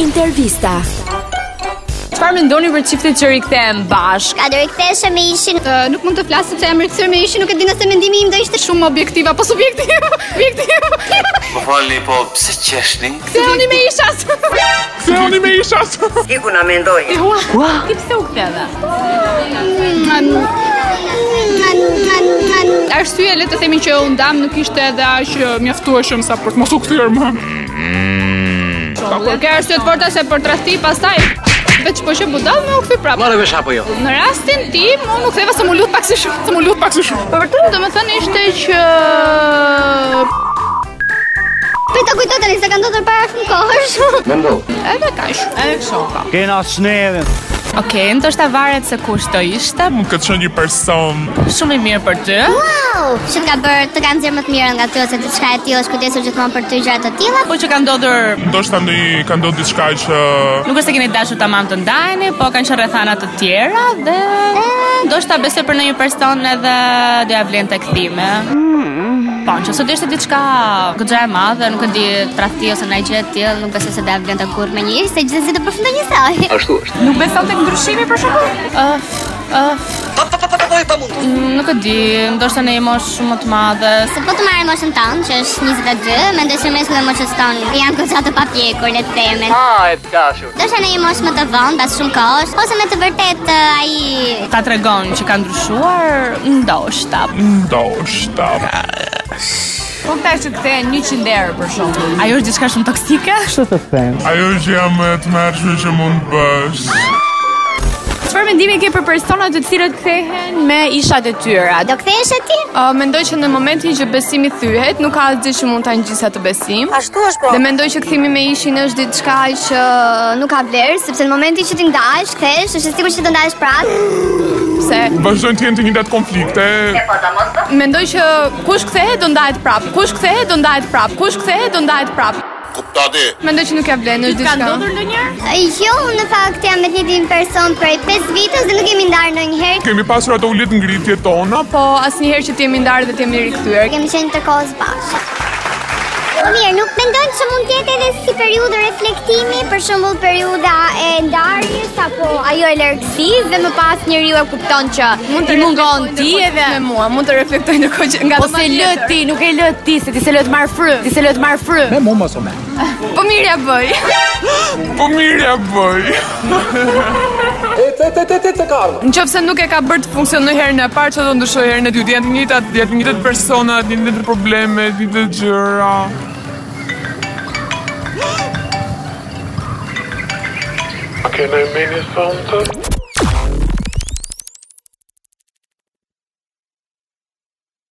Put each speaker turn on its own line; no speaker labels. Intervista.
Çfarë mendoni për çiftet që rikthehen bashk?
Ka do riktheshe me ishin
Ë, nuk mund të flas sepse jam rikthyer me ishin, nuk e di nëse mendimi im do ishte shumë objektiv apo subjektiv. Objektiv.
Më falni, po pse qeshni?
Se unë me ishas.
Iku na mendoj.
Ua,
Ti pse u ktheve?
arsye le të themi që u ndam nuk ishte edhe aq ë, mjaftueshëm sa për të mos u kthyer më. Po kur ke arsye të forta se për tradhti pastaj veç po që budall më u kthy prapë. Morë vesh apo jo? Në rastin tim unë nuk theva se më lut pak si shumë, se më lut pak si shumë. Po vërtet domethënë ishte që
Për të kujtoj tani se ka ndodhur para shumë kohësh.
edhe kaq.
Edhe kështu. po. Okej,
Kena sneve
okay, ndoshta varet se kush do ishte.
Më këtë qenë një person
Shumë i mirë për ty.
Wow! Që të ka bërë të kanë nxjerrë më të mirën nga ty ose diçka e tillë, është kujdesur gjithmonë për të gjëra të tilla.
Po që ka ndodhur,
Ndoshta në i ka ndodhë diçka që
nuk është se keni dashur tamam të ndajeni, po kanë qenë rrethana të tjera dhe ndoshta besoj për ndonjë person edhe do ja vlen tek thime. Po, nëse do ishte diçka goxha e madhe, nuk e di tradhti ose ndaj gjë e tillë, nuk besoj se do ja vlen tek
Kur me një ishte gjithsesi do përfundoj njësoj.
Ashtu është.
Nuk beson tek ndryshimi për shkakun? Ëh, ëh. Mm, Nuk e di, ndoshta në një moshë shumë më të madhe.
Se po të marrë moshën tonë, që është 22, mendoj se mesku dhe moshës tonë janë goxha të papjekur, le të themi.
Ah, e të dashur.
Do shë në një moshë më të vonë, pas shumë kohësh, ose me të vërtet ë, ai
Ta tregon që ka ndryshuar, ndoshta.
ndoshta
Po këta që kthehen 100 herë për shembull. Ajo është diçka shumë toksike.
Ajo që jam e të mërshme që mund të bësh
Çfarë mendimi ke për personat të cilët kthehen me ishat e tyre?
do po kthehesh e ti?
Uh, mendoj që në momentin që besimi thyhet, nuk ka asgjë që mund ta ngjisë atë besim.
Ashtu është po.
Dhe mendoj që kthimi me ishin është diçka që
nuk ka vlerë, sepse në momentin që ti ndahesh, kthehesh, është e sigurt që do ndahesh prapë.
se
Vazhdojnë të jenë të njëjtat konflikte
mendoj që kush kthehet do ndahet prap, kush kthehet do ndahet prap, kush kthehet do ndahet prap. Kuptati. Mendoj që nuk ja vlen është
Ka
diçka.
ndodhur ndonjëherë?
Jo, unë në fakt jam me të njëjtin person prej 5 vitësh dhe nuk jemi ndarë ndonjëherë.
Kemi pasur ato ulit ngritje tona
Po asnjëherë që ti jemi ndarë dhe ti jemi rikthyer.
Kemi qenë të kohës bashkë. Po mirë, nuk mendon që mund të jetë edhe si periudhë reflektimi, për shembull periudha e ndarjes apo ajo e largësisë dhe më pas njeriu e kupton që
Mund të mungon ti edhe me mua, mund të reflektoj ndërkohë që nga
Ose lë ti, nuk e lë ti, se ti se lë të marr fry. Ti se lë të marr fry.
Me mu mos o me
Po mirë ja bëj.
Po mirë ja bëj
Nëse nuk e ka bërë të funksionojë herën e parë, çfarë do ndryshoj herën e dytë?
Janë të njëjtat, janë të njëjtat persona, të njëjtat probleme, të njëjtat gjëra
Can I mean something?